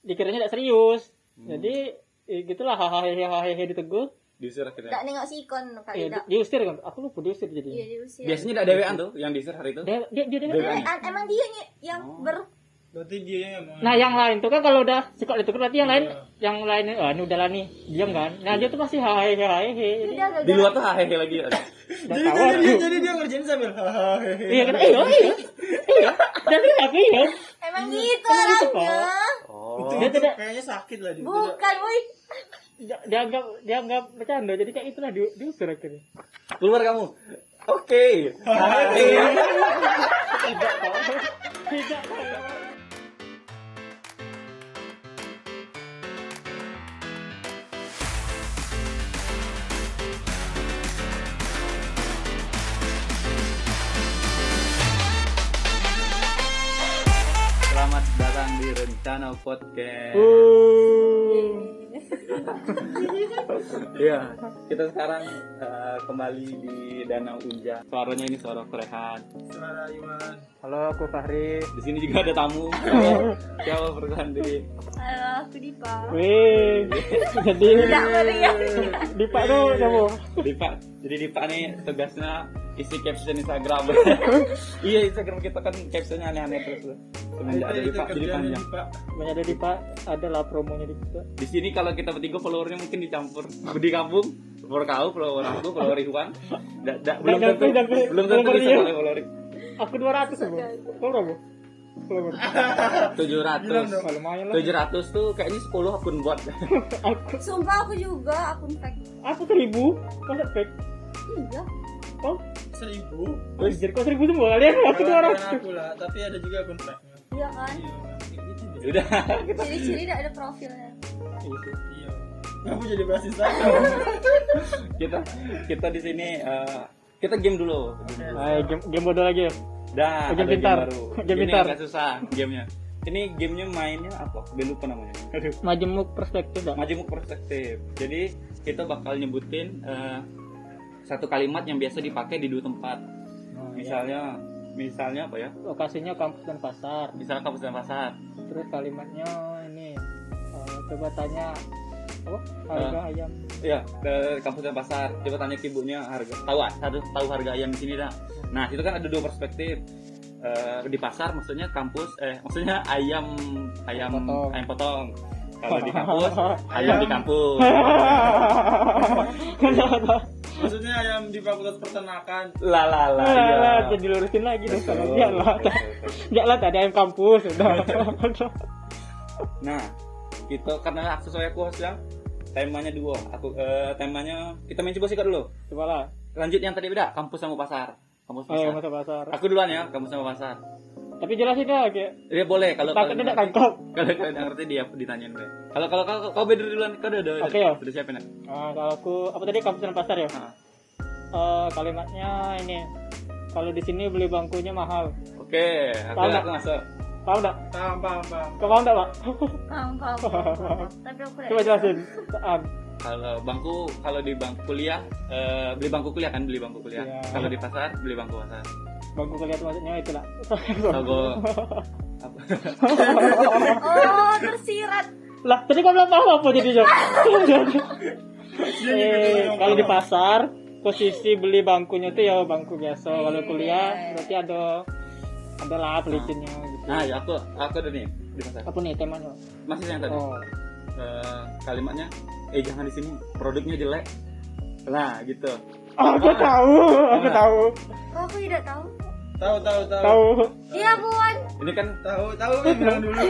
dikiranya tidak serius jadi eh, gitulah hahaha hahaha ditegur diusir akhirnya Nggak nengok si ikon kali ya, nggak. Iya. di- diusir kan aku lupa diusir Iya jadi diusir. biasanya tidak dewean tuh yang diusir hari itu dia dia, dia, dia- Dewean. An- emang dia ny- yang Oh. ber Berarti dia yang nah yang lain tuh kan kalau udah sikap ditegur berarti yang lain yang lain ah ini udahlah nih diam kan nah dia tuh pasti hahaha hahaha Dia jadi gagal. di luar tuh hehehe lagi ada udah jadi tahu jadi dia, aku. jadi dia ngerjain sambil hahaha. iya kan iya iya iya dan dia aku iya Emang gitu Emang gitu, orangnya. oh Dia Itu tidak- kayaknya sakit lah dia. Bukan, woi. Dia- dianggap dianggap bercanda jadi kayak itulah di, diusir akhirnya keluar kamu oke Iya. Hehehe. tidak tahu tidak tahu selamat datang di rencana podcast Iya, kita sekarang eh, kembali di Danau Unja. Suaranya ini suara kerehan. Suara Iwan. halo aku Fahri Di sini juga ada tamu. Siapa? Siapa perkenalan diri? Halo, aku Dipa. Wih, jadi Udah meriang. Dipa tuh kamu. Dipa. Jadi Dipa nih tugasnya isi caption Instagram. iya, Instagram kita kan captionnya aneh-aneh terus. tuh. Semenjak Iya, ada Itu Dipa jadi kerjaan panjang. Dipa. Banyak ada Dipa, adalah promonya di situ. Di sini kalau kita bertiga followernya mungkin dicampur. Di kampung, follower kau, follower aku, follower Iwan. Da- da- belum Dak- tentu, dak- dak- belum tentu follower bisa dia. oleh follower. Aku 200 loh. Kau berapa? Kau berapa? 700. Wah, Lumayan lah. 700 tuh kayaknya 10 akun buat. Aku Sumpah aku juga akun fake. aku 1000. Masa fake? Iya. Kau Seribu. anjir kau 1000 semua kalian. Aku Kalau 200. aku lah, tapi ada juga kontaknya. Iya kan? Iya. Udah. Ciri-ciri tidak ada profilnya. Iya. Kamu jadi bahas Instagram. kita kita di sini eh, kita game dulu. Ayo game, game Eh, bodoh lagi ya. Dah, Oh, game ada pintar. game baru. Game ini pintar. agak susah gamenya. Ini gamenya mainnya apa? Gue lupa namanya. Majemuk perspektif dah. Majemuk perspektif. Jadi kita bakal nyebutin eh, satu kalimat yang biasa dipakai di dua tempat. iya. Misalnya, misalnya apa ya? Lokasinya kampus dan pasar. Misalnya kampus dan pasar. Terus kalimatnya oh, ini eh, coba tanya apa? Harga ayam. Iya, ke kampus dan pasar. Coba tanya ke ibunya harga. Tahu ah, tahu, tahu harga ayam di sini dah. Nah, itu kan ada dua perspektif. Eh, di pasar maksudnya kampus eh maksudnya ayam ayam Potong. ayam potong. Kalau di kampus ayam di kampus. Maksudnya ayam di fakultas peternakan. La la la. iya. Oh, Alah, jadi lurusin lagi deh sama dia lah. Ya lah tadi ayam kampus udah. Nah, kita karena aku sesuai aku host yang temanya dua. Aku eh, temanya kita main coba sikat dulu. Coba lah. Lanjut yang tadi beda, kampus sama pasar. Kampus Ayo pasar. masa pasar. Aku duluan ya, kampus sama pasar. Tapi jelasin dah kayak Iya boleh kalau takut kalau- tidak tangkap. kalau kalian nggak ngerti dia ditanyain gue kalau kalau kau kau beda duluan kau udah udah Oke, ya. udah siapin ya Nah, kalau aku apa tadi kampus dan pasar ya? Ah, Eh, kalimatnya ini kalau di sini beli bangkunya mahal. oke aku Tahu nggak? aku masuk Paham enggak? Paham, paham, paham. Kau paham enggak, Pak? Paham, paham, paham, paham. Tapi aku Coba jelasin. Ah, Paham. kalau bangku kalau di bangku kuliah eh, beli bangku kuliah kan beli bangku kuliah Iya. kalau di pasar beli bangku pasar Bangku kelihatan maksudnya itu lah. logo apa Oh, tersirat. lah, tadi kau belum paham apa jadinya? Eh, kalau di pasar posisi beli bangkunya tuh ya bangku biasa. Kalau kuliah berarti ada ada lah pelicinnya gitu. nah ya aku aku udah nih di pasar Apa nih temanya? masih yang tadi Oh. Eh, kalimatnya eh jangan di sini produknya jelek lah gitu Oh, aku tahu, aku tahu, Kok aku tidak tahu? Tahu, tahu, tahu. tahu. Iya, Buan. ini kan Tahu, tahu kan bilang dulu.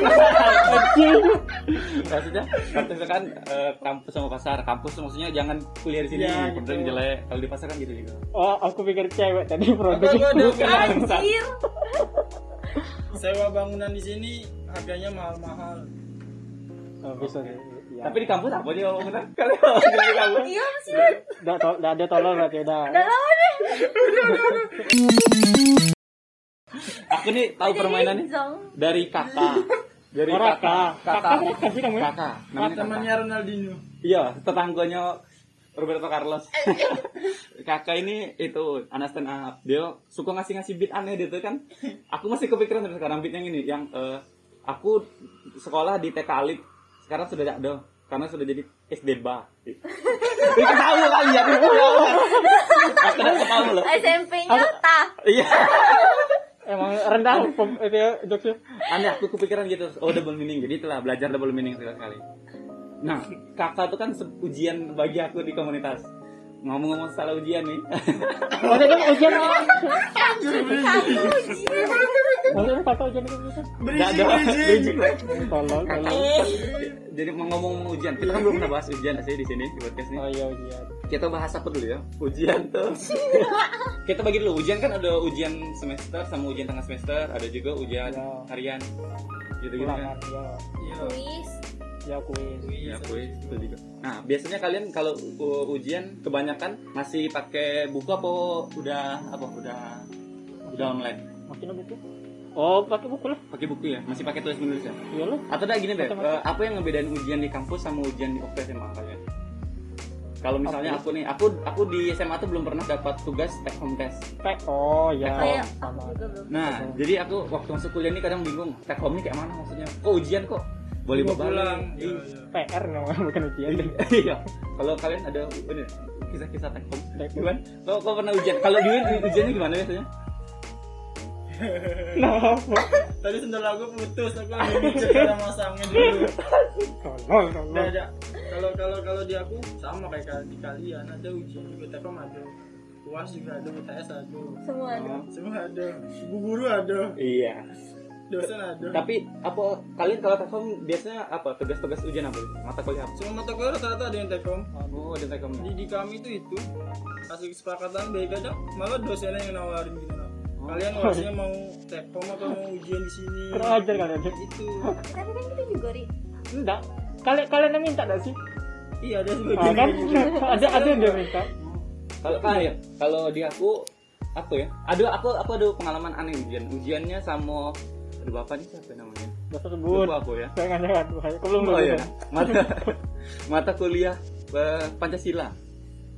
maksudnya maksudnya kan eh, kampus sama pasar kampus maksudnya jangan kuliah di sini Iya, kemudian gitu. jelek kalau di pasar kan gitu juga Oh, aku pikir cewek tadi produk. Apa gua ada- Anjir. Sewa bangunan di sini harganya mahal-mahal. Oh, bisa sih. Ya. tapi di kampus apa dia ngomong kan kalau ngomong di kampus Iya, sih. Udah, to udah ada tolong berarti udah. Udah lama deh. aku nih tahu permainan nih Zong. dari kakak dari Oh, Raka. kakak Kakak Raka sih namanya? kakak namanya kakak Temannya Ronaldinho. iya tetangganya Roberto Carlos kakak ini itu anak stand up dia suka ngasih ngasih beat aneh dia tuh kan aku masih kepikiran dari sekarang beat yang ini yang eh, aku sekolah di TK Alif sekarang sudah tidak ada karena sudah jadi SD Ba. Itu tahu kan ya, aku tidak tahu loh. SMP-nya ta. Iya, Emang rendah pem- itu ya, jokesnya. aneh aku kepikiran gitu. Oh double meaning, jadi telah belajar double meaning sekali sekali. Nah, kakak itu kan se- ujian bagi aku di komunitas. Ngomong-ngomong salah ujian nih, Maksudnya ujian apa? Satu ujian. Maksudnya fakta ujian gitu, itu bisa. tidak ada bridging lah. Tolol, tolol. Jadi mau ngomong-ngomong ujian, kita kan belum pernah bahas ujian sih di sini di podcast ini. Oh iya ujian. kita bahas apa dulu ya ujian tuh kita bagi dulu ujian kan ada ujian semester sama ujian tengah semester ada juga ujian Ya. harian gitu gitu Ulangan kan ya. Iya. Kuis. Ya kuis. ya kuis itu juga nah biasanya kalian kalau u- ujian kebanyakan masih pakai buku apa udah apa udah udah online Makin apa buku. Oh, pakai buku lah. pakai buku ya masih pakai tulis menulis ya Iya lah. atau dah gini deh Atau- eh, apa yang ngebedain ujian di kampus sama ujian di waktu SMA kalian kalau misalnya aku nih aku aku di SMA tuh belum pernah dapat tugas take home test Pek. Oh ya. Pek. Oh ya, aku Sama. juga belum. Nah, jadi aku waktu masuk kuliah ini kadang bingung, take home ini kayak mana maksudnya? Kok ujian kok? Boleh Mau bawa pulang. pulang. Iya, iya. PR namanya bukan ujian. Iya. Kalau kalian ada ini, kisah-kisah take home. Take home. Gimana? Kau, kau pernah ujian? Kalau dulu ujiannya gimana biasanya? Nah, Tadi sendal aku putus, aku lagi mikir cara masangnya dulu. Iya. tolol, tolol. Udah ada. Kalau kalau kalau di aku sama kayak kal- di kalian ada ujian juga TKM ada. UAS juga ada, UTS ada. Semua ada. Semua ada. Ibu guru ada, Iya. dosen ada. Tapi apa kalian kalau take home biasanya apa? Tugas-tugas ujian apa? Mata kuliah apa? Semua mata kuliah rata-rata ada yang TKM. Oh, ada take home. Jadi di kami itu itu hasil kesepakatan baik aja malah dosennya yang nawarin gitu nah. Oh. Kalian UASnya mau TKM atau mau ujian di sini? Kurang ajar kalian. Itu. Tapi kan kita juga ri. Enggak. Kalian kalian yang minta enggak sih? Iya ada Ah, sebagian. kan? gitu. Ada ada yang dia minta. Kalau kalian, ya? kalau di aku apa ya? Aduh, aku aku ada pengalaman aneh ujian. Ujiannya sama aduh bapak nih siapa namanya? Gak usah sebut. Lupa aku ya. Jangan jangan. Bahaya. Kau belum Oh iya. lulus, kan? Mata mata kuliah eh, Pancasila.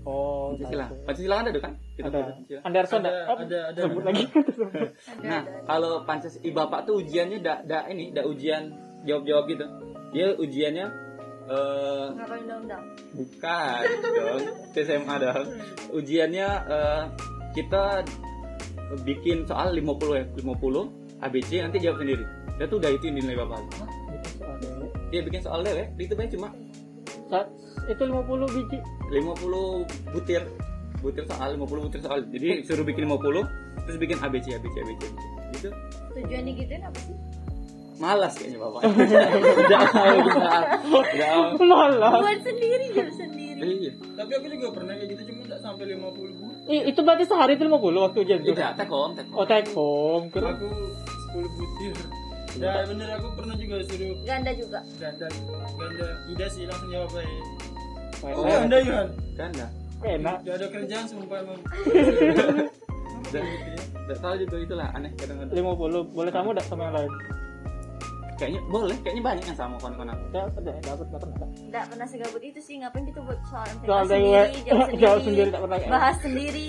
Oh, Pancasila. tahu. Pancasila kan ada tuh kan? Kita Ada. belajar Pancasila. Anderson Ada, ada, ada, ada. Sebut Oh, lagi. Ada, Nah, ada. kalau Pancasila Bapak tuh ujiannya dak dak ini, dak ujian jawab-jawab gitu. Dia ujiannya eh Ngapa undang-undang? bukan dong, SMA dong. Ujiannya eh, kita bikin soal 50 ya, 50 ABC nanti jawab sendiri. Dia tuh udah itu nilai Bapak. Dia bikin soal lele, itu banyak cuma Sa- Itu 50 biji. 50 butir butir soal 50 butir soal jadi suruh bikin 50 terus bikin ABC ABC ABC gitu Tujuan digituin apa sih? malas kayaknya bapak Iya, udah mau udah mau. udah mau. Malah. Buat sendiri, jawab sendiri. Iya. Tapi aku juga pernah kayak gitu cuma enggak sampai 50 bulan. I- itu berarti sehari itu 50 waktu ujian itu. tidak take home take Oh, home take home. Kira- aku 10 butir ya bener aku pernah juga suruh Ganda juga. ganda ganda tidak sih langsung jawab aja Oh, oh Enak. ganda Yohan kan dah Enak. gak ada kerjaan sumpah emang Dan- tidak tahu juga gitu, itulah aneh kadang-kadang 50 boleh kamu enggak sama yang lain? kayaknya boleh kayaknya banyak yang sama kawan-kawan aku Ya, ada dapat dapat dapat. Nggak pernah segabut itu sih. Ngapain kita buat soal MTK Soal dari- sendiri, jawab sendiri. jawab sendiri, nggak pernah. Bahas sendiri.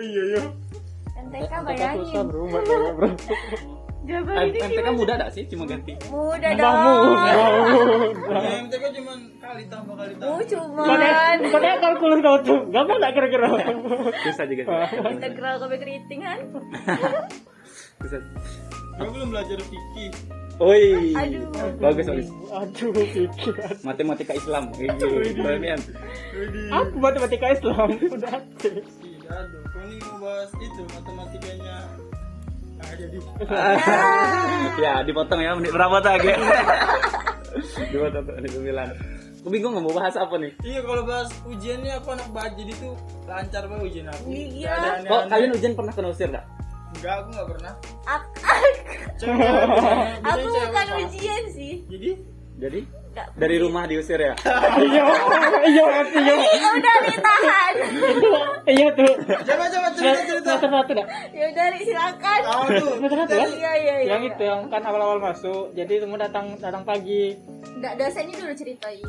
iya iya MTK Kakak susah, bayangin. Bro. Mbak, Bro, bro. Jawaban Eh, ini MTK muda gak sih cuma ganti muda Mbahmu. dong. ya MTK cuman kali tambah kali Mu tambah Kodek, cuman kodek kalkulus kau tuh. Gampang enggak kira-kira? bisa juga integral kopi keriting kan. bisa gue belum belajar fikih oi Aduh. bagus bagus Aduh, pikir. matematika Islam Iya, keren. jadi Aku matematika Islam udah asik. tidak ada kau ini mau bahas itu matematikanya ah jadi ya dipotong ya menit berapa tadi dipotong tuh, menit sembilan aku bingung mau bahas apa nih iya kalau bahas ujiannya aku anak bajet jadi tuh lancar banget ujian aku Iya. kok kalian ujian pernah kena usir nggak enggak aku nggak pernah Ak- Cewek- biasanya Aku cewek bukan pernah. ujian sih. jadi jadi Nggak dari rumah diusir ya Iya, iya, iya. Ih, Ya udah ditahan. Itu, iya tuh. coba coba cerita cerita Semester satu dah. Ya udah Ri, silakan. tahu tuh Semester satu ya? kan? Iya iya iya. Yang itu yang kan awal-awal masuk, jadi semua datang datang pagi. Enggak dosennya dulu ceritain.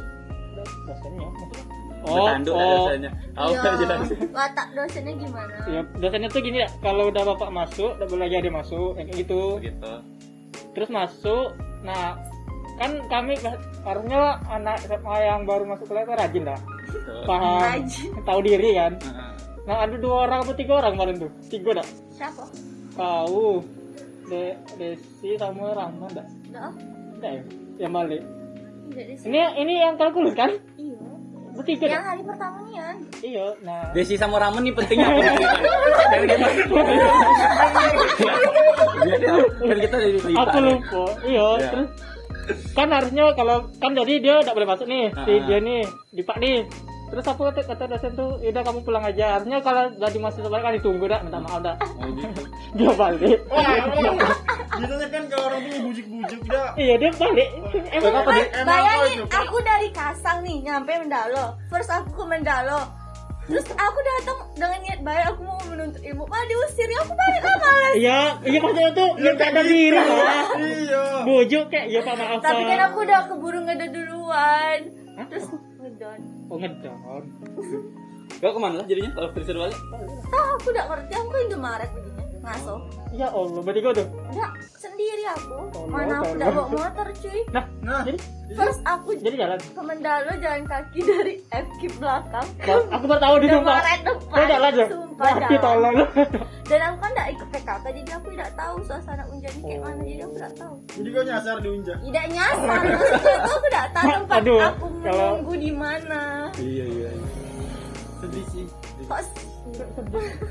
Dosennya, maksudnya? oh, Oh, bertanduk ada oh, usirnya oh, jelas Iya. Watak dosennya gimana? ya, dosennya tuh gini Oh, ya, kalau udah bapak masuk, udah boleh jadi masuk, yang kayak gitu. gitu Terus masuk, Nah, kan kami karena anak SMA yang baru masuk kuliah itu rajin dah. Betul. Paham, Rajin. tahu diri kan. Nah, Nah, ada dua orang atau tiga orang kemarin tuh. Tiga dah. Siapa? Tahu. De Desi sama Rahma dah. Dah. Dah ya. Yang balik. Enggak deh. Ini ini yang kalkulus kan? Iya. Bertiga dah. Yang hari pertama nih kan. Iya. Nah, Desi sama Ramen nih pentingnya apa? nih? Dari kita Jadi kan kita dari berita. aku lupa. Iya, Ya. terus kan harusnya kalau kan jadi dia tidak boleh masuk nih si Ah. dia nih di pak nih terus aku kata, kata dosen tuh udah kamu pulang aja harusnya kalau jadi masih sebalik kan ditunggu dah minta maaf dah Oh, gitu. dia balik Biasanya kan kalau orang tuh bujuk-bujuk dah. iya dia balik emang Kenapa dia? Emang Bayangin kau juga. aku dari Kasang nih nyampe Mendalo. First aku ke Mendalo. Terus aku datang dengan niat baik aku mau menuntut ilmu. Malah diusir ya aku balik lah malas. iya iya maksudnya tuh dia tak ada diri lah gitu. Iya. bujuk kayak ya pak maaf Tapi kan Pak." aku udah keburu ngedon duluan. Terus ngedon. oh ngedon Kau kemana lah jadinya kalau Freezer balik? Tahu Ah, aku udah ngerti aku kan Indomaret begini. Ngaso. ya allah bertiga tuh Enggak, sendiri aku. Tolong, Mana aku tolong. udah bawa motor cuy. nah Nah, jadi First aku jadi jalan ke Mendalo jalan kaki dari FK belakang. Ba- aku baru tahu di sumpah Indomaret depan. Kau jalan tuh Sumpah Mati jalan. tolong dan aku kan tidak ikut PKK jadi aku tidak tahu suasana unjani kayak mana jadi aku tidak tahu jadi kau nyasar di unja. tidak nyasar maksudnya tuh aku tidak tahu tempat Oh. Aduh, aku kalau- menunggu di mana Iya iya. Sedih sih. kok s-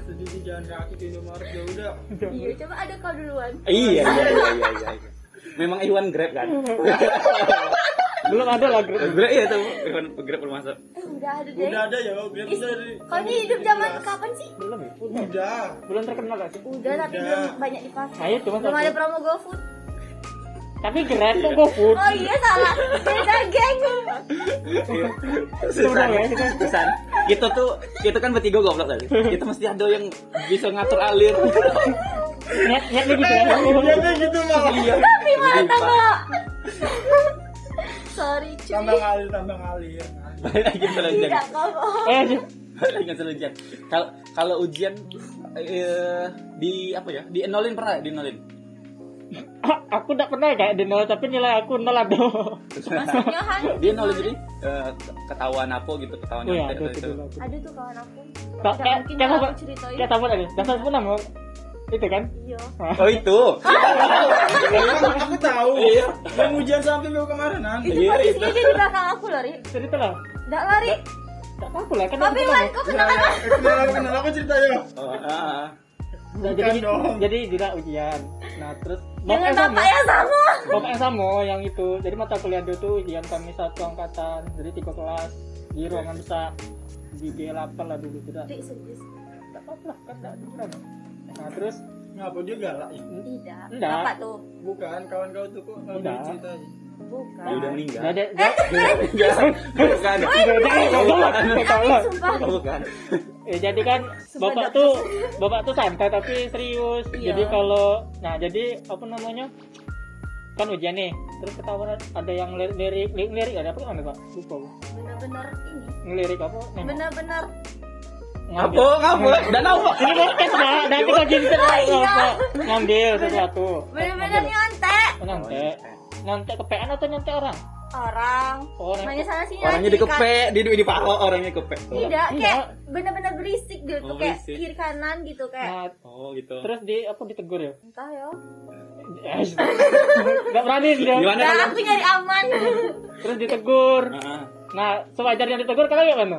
Sedih sih jalan kaki ke Indomaret ya udah. iya coba ada kau duluan Iya iya iya iya. iya. Memang Iwan Grab kan? belum ada lah grup Grab ya tuh Iwan Grab belum masuk. eh, udah ada deh Udah ada ya, gue Is, bisa dari. kau ini hidup zaman kapan sih belum ya Udah. belum terkenal gak sih udah tapi Udah. belum banyak dipakai saya cuma belum satu. ada promo GoFood tapi grab kok gue food oh iya salah beda geng Susan, Udah, ya. Susan, Iya. kita tuh kita kan bertiga goblok tadi. Kita mesti ada yang bisa ngatur alir. niat niat lagi Dia grab kayak gitu Eh, ya? malah. Iya. tapi mana tambah sorry Tambah cuy ngalir, tambah ngalir. Balik lagi ke Iya, lonjang. tidak kau bohong eh Balik lagi ke lonjang. Kalau kalau ujian eh, di apa ya? Di nolin pernah ya? di nolin. a- Ah, aku tidak pernah kayak di nol tapi nilai aku nol ada maksudnya Han Dia nolin jadi eh, ketahuan apa gitu oh ketahuan ya nyontek aduh atau itu. sedih aku ada tuh kawan aku Kak, tidak kayak mungkin kayak kalau apa aku ceritain kayak apa tadi dasar pun nama itu kan iya Oh itu. Emang aku tahu. Iya. Yang ujian samping gue kemarin Nan. Itu Iya, posisinya itu. dia di belakang aku lari. cerita lah Enggak lari. tak apa lah kan aku Tapi pernah. Wan, kok Ya, kenapa? ya, eh, Kenal aku, kenal aku cerita ya. Oh, ah, ah. Nah, Bukan jadi dong. jadi tidak ujian nah terus Dengan bapaknya sama bapak ya. yang sama. bapaknya sama yang itu jadi mata kuliah dulu tuh ujian kami satu angkatan jadi tiga kelas di ruangan besar di G8 lah dulu tidak Dik, serius. tidak apa lah kan tidak ada kurang. nah terus Ngapa dia galak ya? Tidak. Enggak. Bapak tuh. Bukan, kawan kau tuh kok nggak Udah. boleh ceritain. Ya Bukan. Dia udah Ya. meninggal. Nggak ada Eh, Bukan. Bukan. Iya. Amin, sumpah. Bukan. Ya, jadi kan Sumpah, bapak Dok. tuh bapak tuh santai tapi serius. Iya. Jadi kalau nah jadi apa namanya? Kan ujian nih. Terus ketahuan ada yang lirik lirik lirik, lirik ada apa namanya, Pak? Lupa. Bu. Benar-benar ini. Ngelirik apa? Nengok. Benar-benar. Apa? Apa? Iya. Dan apa? Ya, Ini podcast, Pak. Nanti kok jadi terlalu iya. apa? Ngambil sesuatu. Benar-benar iya. nyontek. Oh, Nyontek. Nyontek kepean atau nyontek orang? Orang. Orang. Nanya sana sini Orangnya lagi, kan. dikepek, di di palo orangnya kepek. Tidak, kayak Enggak. benar-benar berisik dia tuh Iya. Oh, kayak berisik. kiri kanan gitu kayak. Nah, Oh gitu. terus di apa ditegur Nah. ya? Entah ya. Eh, Gak berani dia. Gimana Nah, kalau? aku nyari aman. Terus ditegur. Heeh. Nah, sewajarnya ditegur kalau ya mana?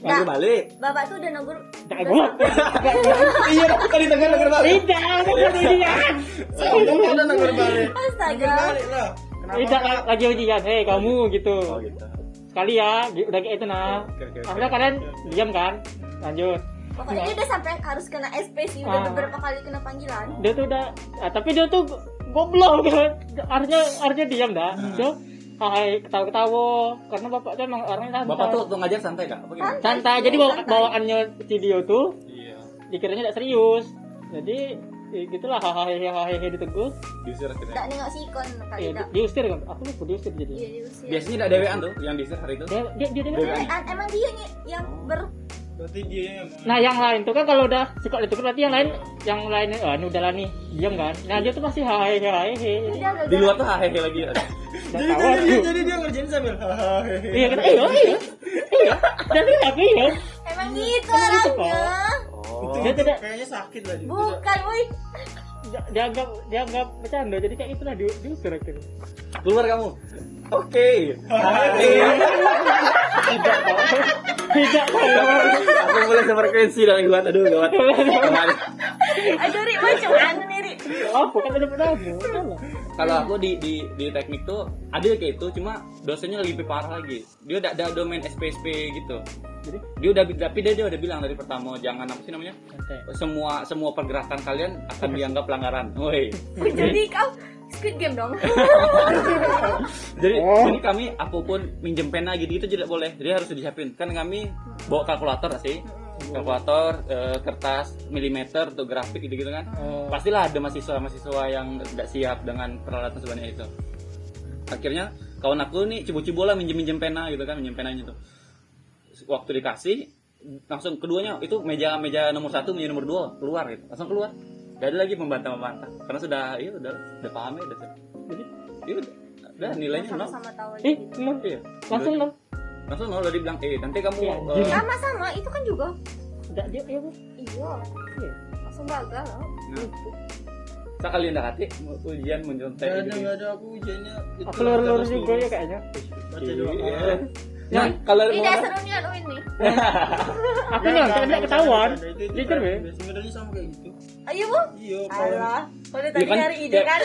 Nah, gue balik. Bapak tuh udah negur. Jangan gua. Iya, tapi tadi tengah denger balik. Tidak, aku kan ujian. Kamu udah nggak berbalik. Astaga. Berbalik lah. Kenapa? Tidak la- lagi ujian. Hei, kamu gitu. Oh gitu. Sekali ya, di- udah kayak itu nah. Oke, oke, oke. Akhirnya kalian diam kan? Lanjut. Pokoknya dia udah sampai harus kena SP sih, udah Ah. beberapa kali kena panggilan. Dia tuh udah, ah, tapi dia tuh go- goblok kan. Artinya artinya diam dah. Hmm. Dia hai ketawa-ketawa karena bapaknya emang orangnya santai. Bapak tuh waktu ngajar santai gak? Apa gimana? santai. Jadi bawa- bawaannya video tuh Iya. dikiranya tidak serius. Jadi ya gitulah hahaha hahaha ditegur. Diusir Tak akhirnya. nengok si ikon kali Ya, Iya, tak. di- diusir kan. Aku lupa diusir jadi. Iya diusir. Biasanya tidak dewean tuh yang diusir hari itu. kan? kan, Dia dia dia, dia, Dewean. Emang dia nih yang ber berarti dia yang mau Nah yang lain tuh kan kalau udah suka itu berarti yang lain yang lain oh, ini udahlah nih diam kan. Nah dia tuh masih hahe hahe hahe. Udah, udah, Di udah. luar tuh hehehe lagi. ada. Dan jadi, tahu jadi, aku. dia- jadi dia ngerjain sambil hahaha Iya kan? Iya iya iya. Dan ini aku iya. Emang gitu Emang gitu, orangnya. Oh. Dia tidak kayaknya sakit lah dia. Bukan, woi. dia- dianggap dianggap bercanda jadi kayak itulah di diusir akhirnya. Keluar kamu. Oke. Tidak kalau Aku mulai sefrekuensi dengan gua aduh gawat. Kemarin. Aduh, Ri, woi, cuman nih, Ri. apa kan ada penamu. Kalau aku di di di teknik tuh ada kayak itu cuma dosennya lebih parah lagi. Dia udah ada domain SPSP gitu. Jadi Dia udah tapi dia, dia udah bilang dari pertama jangan apa sih namanya? santai. Semua semua pergerakan kalian akan dianggap pelanggaran. Woi. Woi, Jadi kau Squid Game dong. Jadi Oh. ini kami apapun minjem pena gitu itu tidak boleh. Jadi harus disiapin. Kan kami bawa kalkulator sih. Kalkulator, eh, kertas, milimeter untuk grafik gitu-gitu kan. Oh. Pastilah ada mahasiswa-mahasiswa yang tidak siap dengan peralatan sebanyak itu. Akhirnya kawan aku nih cibu-cibu lah minjem-minjem pena gitu kan, minjem penanya tuh. Waktu dikasih langsung keduanya itu meja meja nomor satu meja nomor dua keluar gitu langsung keluar dari lagi membantah membantah karena sudah iya udah udah paham ya udah Jadi Iya udah, udah nilainya nol. Sama-sama tahu aja eh gitu. nol. Iya. Langsung nol. Langsung nol udah dibilang eh nanti kamu Iya, eh, gini. Sama-sama, itu kan juga. Tidak dia iya. Bu. Iya, Iya. langsung gagal loh. nah, sekali ndak hati ujian mencontek Gak ada, gitu. gak ada aku ujiannya itu Aku lur-lur terus juga dulu. ya kayaknya. Baca doang. Iya. Nah, Nah, kalau Ini mau dasar unian Uin nih. Aku Nggak, nyontek tidak nggak, nggak, ketahuan. nggak, nggak, nggak, Jujur ya. nggak, nggak, kan Sebenarnya sama kayak gitu. Ayo, Bu. Iya, kalau Alah, udah tadi Iya kan? nyari ide Iya. kan.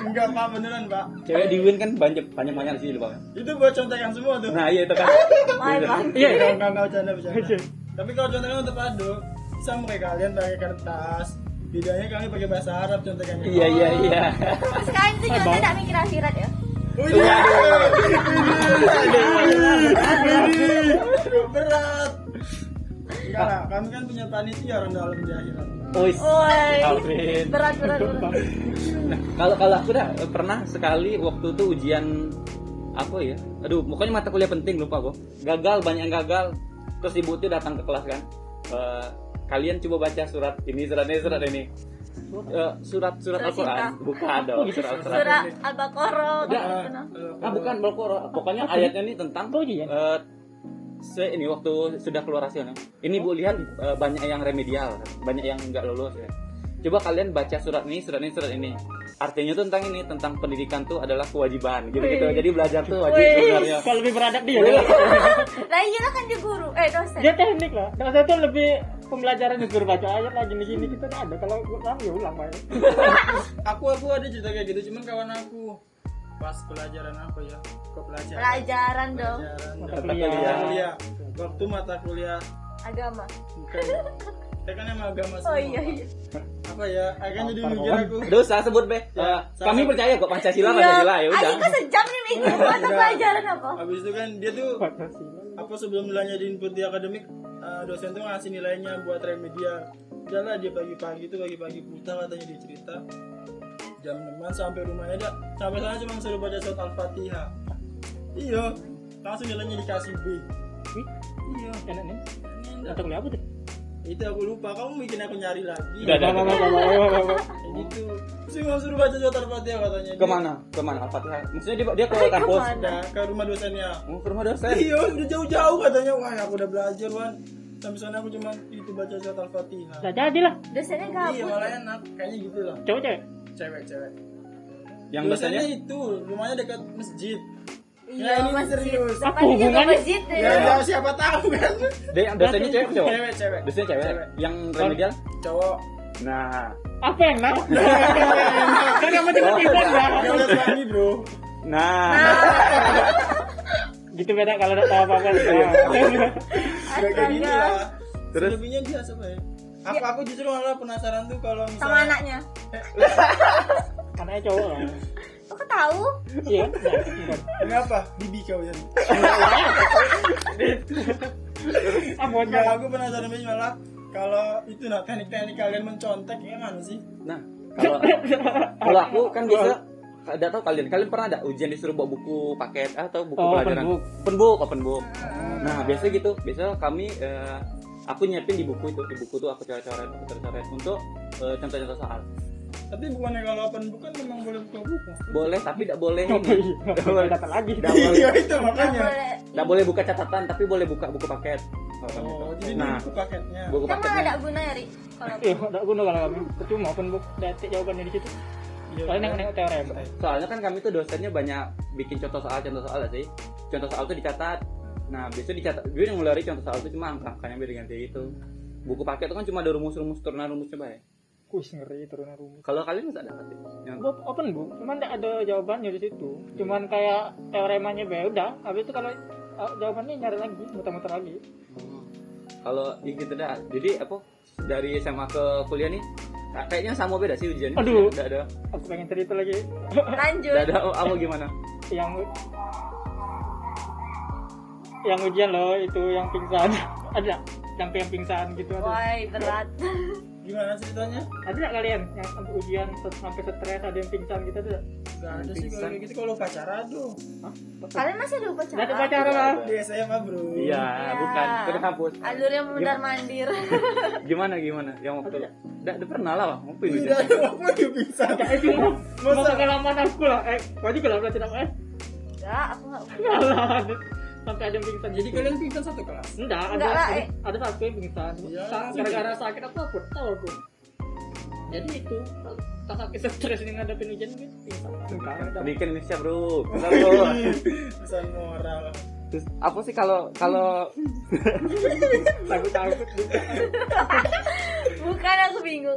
enggak Pak beneran Pak. cewek di Win kan banyak banyak banyak sih lupa. Itu buat contek yang semua tuh. Nah, iya itu kan. Main Iya. bang. Iya. iya. Enggak, enggak, bercanda, bercanda. Tapi kalau contohnya untuk Pado, sama kayak kalian pakai kertas. Bedanya kami pakai bahasa Arab gitu. contohnya. Iya iya iya. Terus sekarang itu Jonte tidak mikir akhirat ya. Oh iya. Ini Iya. berat. Enggak lah, kami kan punya panitia orang dalam di akhirat. Ois. Woi. Alvin. Berat, berat, berat. Nah, kalau kalau aku dah eh, pernah sekali waktu itu ujian apa ya? Aduh, pokoknya mata kuliah penting lupa aku. Gagal banyak yang gagal. Terus ibu tuh datang ke kelas kan. Eh, kalian coba baca surat ini surat ini surat ini. Eh, surat surat Surat Al-Quran cinta. bukan dong surat surat Surah Al-Baqarah. Enggak. gitu-gitu. ah bukan Al-Quran pokoknya ayatnya ini tentang Oh, iya. eh, saya ini waktu sudah keluar hasilnya ini bu lihat eh, banyak yang remedial banyak yang nggak lulus ya. coba kalian baca surat ini surat ini surat ini artinya tuh tentang ini tentang pendidikan tuh adalah kewajiban gitu gitu Wih. jadi belajar tuh wajib Wih. sebenarnya iya. Kalau lebih beradab dia. Iya. Lah iyalah kan dia guru, eh dosen. Dia Iya. teknik lah. Dosen tuh lebih pembelajaran disuruh baca ayat lah gini-gini kita nggak ada. Kalau gue paham ya ulang aja. Aku aku ada cerita kayak gitu, cuman kawan aku pas pelajaran apa ya? Kepelajaran. Pelajaran dong Pelajaran Mata dalam kuliah. mata kuliah. Waktu mata kuliah agama. bukan. Kita kan emang agama semua. Oh iya iya. Apa ya? Akhirnya jadi mikir aku. dosa sebut be Eh, kami percaya kok Iya. pancasila pancasila ya udah Anjing gua sejam nih mikir mata pelajaran apa. Habis itu kan dia tuh Pancasila. apa sebelum nilainya diinput di akademik eh, dosen tuh ngasih nilainya buat remedial udahlah dia pagi-pagi tuh pagi-pagi buta katanya dia cerita jam 6 sampai rumahnya dah sampai sana cuma suruh baca surat al-fatihah iya langsung nilainya dikasih B Wih, iya enak nih. enak. Atau kuliah apa tuh? itu aku lupa kamu bikin aku nyari lagi Udah, udah, Bawa, bawa, bawa, bawa, bawa. Kayak gitu cuma suruh baca surat al-fatihah katanya Dia- kemana kemana al-fatihah maksudnya dia, dia ke kampus Kemana? Nah, ke rumah dosennya mau ke rumah dosen Iya, udah jauh-jauh katanya. Wah, aku udah belajar, Wan. Sampai sana aku cuma itu baca surat Al-Fatihah. Nggak jadi lah. Dosennya Iya, gabut. malah enak. Kayaknya gitu lah. Cowok cewek. Cewek-cewek. yang Dosennya dosennya itu, rumahnya dekat masjid. Iya, Ya, ini masjid. serius. Apa Depannya juga hubungannya? masjid Ya, ya. Iya, ya, siapa tahu kan? dia dosennya cewek apa cowok Cewek-cewek. dosennya cewek Cewek. yang remedial Cowok. nah Apa yang enak? Kan kamu tiba-tiba enggak. Dia udah suami, Bro. Nah, Gitu beda kalau udah tahu apa-apa. Nah. Gak kayak gini Astaga. Iya. lah. Terus? Selebihnya dia siapa ya? Aku, aku justru malah penasaran tuh kalau Sama misalnya anaknya. Anaknya cowok lah. Kok kau tahu? Iya. nggak, bukan. Kenapa? Bibi kau ya Ah, Enggak, bocah. aku penasaran banget malah Kalau itu nah, kan teknik-teknik kalian mencontek ya mana sih? nah kalau kalau aku kan biasa Ada tahu kalian, kalian pernah ada ujian disuruh bawa buku paket atau buku Oh, open pelajaran? book. Open book, open book. Nah, biasanya gitu. Biasanya kami eh, aku nyiapin di buku itu, di buku tuh aku coret-coret, aku coret-coret untuk eh, contoh-contoh soal. Tapi bukannya kalau open book kan memang boleh buka buku. Boleh tapi tidak boleh Oh, ini. iya. Nggak boleh. Datang lagi. Nggak boleh. Iya itu makanya. boleh Tidak boleh buka catatan tapi boleh buka buku paket. Oh, jadi di Nah, buku paketnya. buku kita paketnya malah ada guna ya Ri kalau Iya, enggak guna kalau kami. Percuma open book, dati jawabannya di situ. Iya, Soalnya nengok-nengok teorem. soalnya kan kami tuh dosennya banyak bikin contoh soal contoh soal sih contoh soal tuh dicatat nah biasanya dicatat gue yang ngeluarin contoh soal tuh cuma angka-angkanya biar diganti gitu buku paket tuh kan cuma ada rumus-rumus turunan rumusnya bay Kuis ngeri turunan rumus. kalau kalian nggak dapat sih yang Gua open book, cuman enggak ada jawabannya di situ. Cuman kayak teoremanya beda. Habis itu kalau eh, jawabannya nyari lagi, muter-muter lagi. kalau ya gitu dah jadi apa dari SMA ke kuliah nih nah, kayaknya sama beda sih ujiannya Aduh. Nggak ada Aku pengen cerita lagi lanjut nggak ada apa gimana yang yang ujian loh itu yang pingsan. ada sampai yang pingsan gitu ada. woi berat Gimana ceritanya? Ada nggak kalian yang sampai ujian sampai stres ada yang pingsan gitu ada? nggak? Gak ada sih kalau kayak gitu kalau pacaran tuh. Hah? kalian masih ada upacara Nggak ada pacaran lah. Di SMA bro. iya Iya. bukan ke kampus alurnya mundar mandir gimana gimana yang waktu nggak ada pernah lah Bang. Ngapain Tidak ujian? ada apa yang bisa. Ya itu gitu. mau Masa? pengalaman aku lah. Eh, kau juga lah berarti tidak eh. enggak aku enggak Kalah. Sampai ada yang pingsan. Jadi Jadi kalian pingsan satu kelas. enggak ada Enggak lah, ada, eh. ada satu yang pingsan. Iya, Sa- Gara-gara sakit aku aku tahu aku. Jadi itu tak sakit stres ini ngadepin hujan gitu. Pingsan. Enggak ada. pendidikan Indonesia bro Kita, bro Pesan moral. Terus apa sih kalau kalau Takut takut. bukan aku bingung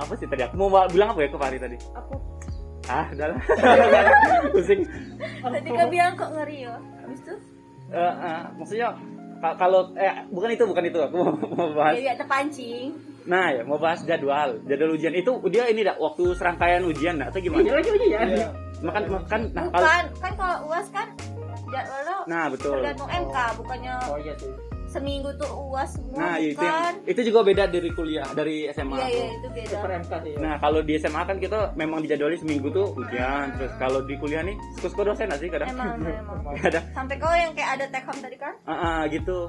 apa sih tadi aku mau ba- bilang apa ya ke Fahri tadi? Apa? Ah, udah lah. Pusing. tadi kau bilang kok ngeri ya habis itu Eh, eh, maksudnya ka- kalau eh bukan itu bukan itu aku mau, mau bahas. jadi Iya, terpancing Nah ya mau bahas jadwal jadwal ujian itu dia ini dah waktu serangkaian ujian nah, atau gimana? Iya lagi ujian. Iya. Makan makan nah kalau bukan kan kalau uas kan jadwal lo nah betul. tergantung MK bukannya Oh iya sih. seminggu tuh uas semua Nah itu bukan yang, itu juga beda dari kuliah dari SMA. iya iya tuh. itu beda Super MK sih. ya. Nah kalau di SMA kan kita memang dijadwalin seminggu tuh ujian terus kalau di kuliah nih suka-suka dosen nggak sih kadang? emang emang Kadang. sampai kau yang kayak ada take home tadi kan Ah ah, gitu.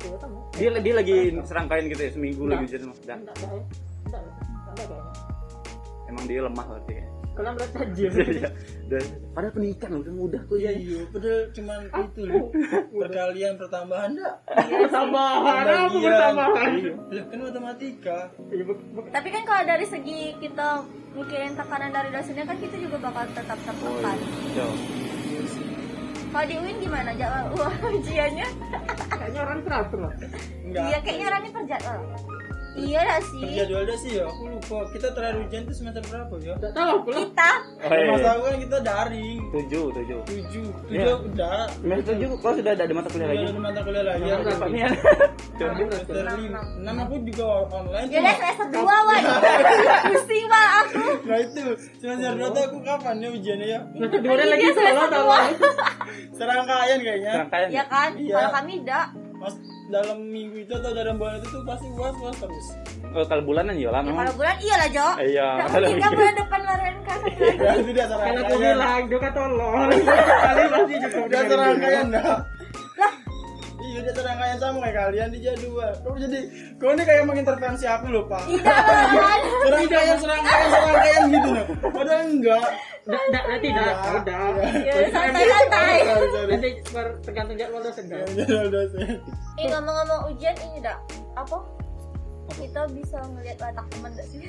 Coba tamu. dia dia lagi serangkaian gitu ya seminggu Enggak. lagi ujian semua. Dah, Enggak ada. ya. Enggak ada. Enggak ada. kayaknya. emang dia lemah berarti ya Kalian lihat aja. dan padahal pendidikan udah mudah kok Iya ya iya. Padahal cuman itu loh. Perkalian pertambahan enggak? Pertambahan apa Pembagian. pertambahan? Iya. Lah kan matematika. Iya, bu- bu- tapi kan kalau dari segi kita mikirin tekanan dari dosennya kan kita juga bakal tetap tertekan Oh, iya. Iya kalau di UIN gimana jadwal uas ujiannya Kayaknya orang teratur lah. Enggak. iya kayaknya Rani perjadwal iya lah sih Jadwalnya sih ya, aku lupa. Kita terakhir ujian itu semester berapa ya? Enggak tahu aku lah. kita oh, Kalau iya. Masa aku kan kita daring. tujuh tujuh Tujuh. Tujuh Iya. udah. Mas tujuh kok sudah ada di mata kuliah Udah lagi ada mata kuliah lagi. Jangan aku lupa. Ini ada. Coba semester Enam, lima. enam. Enam aku juga online. ya udah cuma- semester dua Iya. wan pusing banget aku Nah itu semester dua tuh aku kapan ya ujiannya ya? Nah, keduanya Iya, lagi semester salah tahu. dua. Serangkaian kayaknya. serangkaian ya kan Iya. kalau kami tidak Mas dalam minggu itu atau dalam bulan itu tuh pasti uas uas terus. oh, kalau bulanan ya lah ya memang kalau bulan iyalah Jo Iya, Nggak kalau mungkin kan gitu. bulan depan kan. marahin kakak lagi Iya. Ya itu dia Kalau aku serangkaian. bilang dia kata tolol. Kali pasti juga Dia serangkaian dah. lah Iya dia serangkaian sama kayak kalian di jadwal. Kamu jadi kau ini kayak mengintervensi aku loh pak. tidak lah kan? Serangkaian serangkaian serangkaian gitu loh. Padahal enggak. Enggak, enggak, nanti enggak. Udah. Iya. ya udah, santai-santai Sorry, sorry. Nanti per- tergantung jadwal dosen Ya, dah. udah, udah, sorry. Eh ngomong-ngomong ujian ini dak apa? Kita bisa ngelihat watak teman gak sih?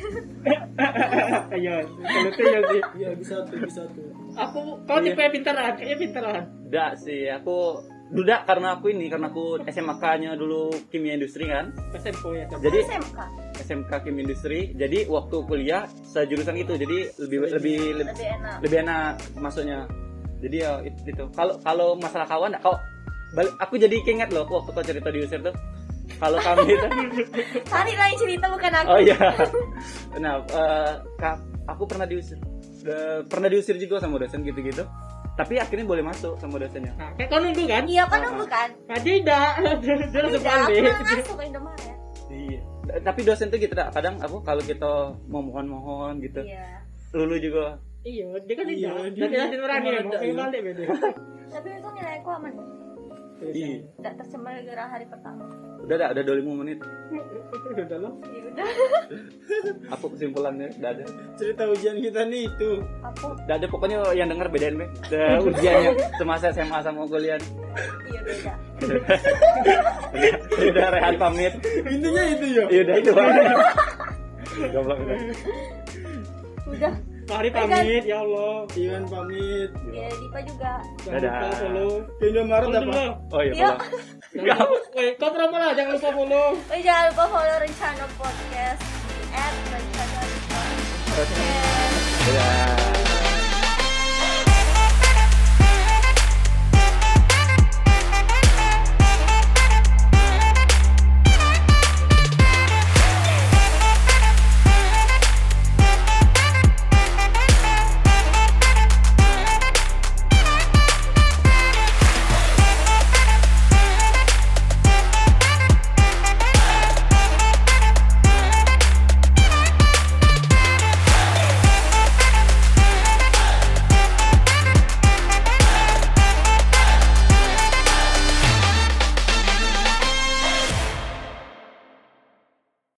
Ayo, kalau itu ya sih. Iya bisa tuh bisa tuh. Aku kau tipe pintaran, kayaknya ah. pintaran. enggak sih aku duda karena aku ini karena aku SMK nya dulu kimia industri kan Pesen po ya. Sam. jadi SMK. SMK kimia industri jadi waktu kuliah sejurusan itu jadi lebih lebih lebih, Lebih enak. lebih enak masuknya jadi ya it- itu kalau kalau masalah kawan kau balik aku jadi keinget loh waktu kau cerita di user tuh kalau kami itu Tarik lain cerita bukan aku. oh iya nah eh, ka- aku pernah diusir Eh, pernah diusir juga sama dosen gitu-gitu tapi akhirnya boleh masuk sama dosennya Nah, kayak kau nunggu kan? Iya kan nunggu kan? Nah, tidak. Dia langsung Tidak, aku balik. malah masuk ke Indomaret. Eh, iya tapi dosen tuh gitu dah, kadang aku kalau kita mau mohon-mohon gitu Iya. lulu juga Iya, dia kan Iya, tidak. dia- Nanti nanti berani ya, mau Iya. balik beda. Tapi itu nilai aku aman. Iya. Ih, Tidak tercemar gara hari pertama. Iya. udah dah, udah 25 menit Udah loh. Ya udah. apa kesimpulannya udah ada cerita ujian kita nih itu Aku udah ada pokoknya yang denger bedain be Udah, ujiannya semasa SMA sama kuliah iya beda. udah rehat pamit intinya itu ya ya udah itu goblok udah Udah. Mari pamit, ya Allah. Iwan pamit Iya. Ya Dipa juga. Jangan Dadah. lupa follow. ke Indomaret Follow apa? dulu. oh iya Iya. goblok. Jangan lupa- Weh, kau promo lah, jangan lupa follow. Oh jangan lupa follow Rencana Podcast di app Rencana Podcast. dadah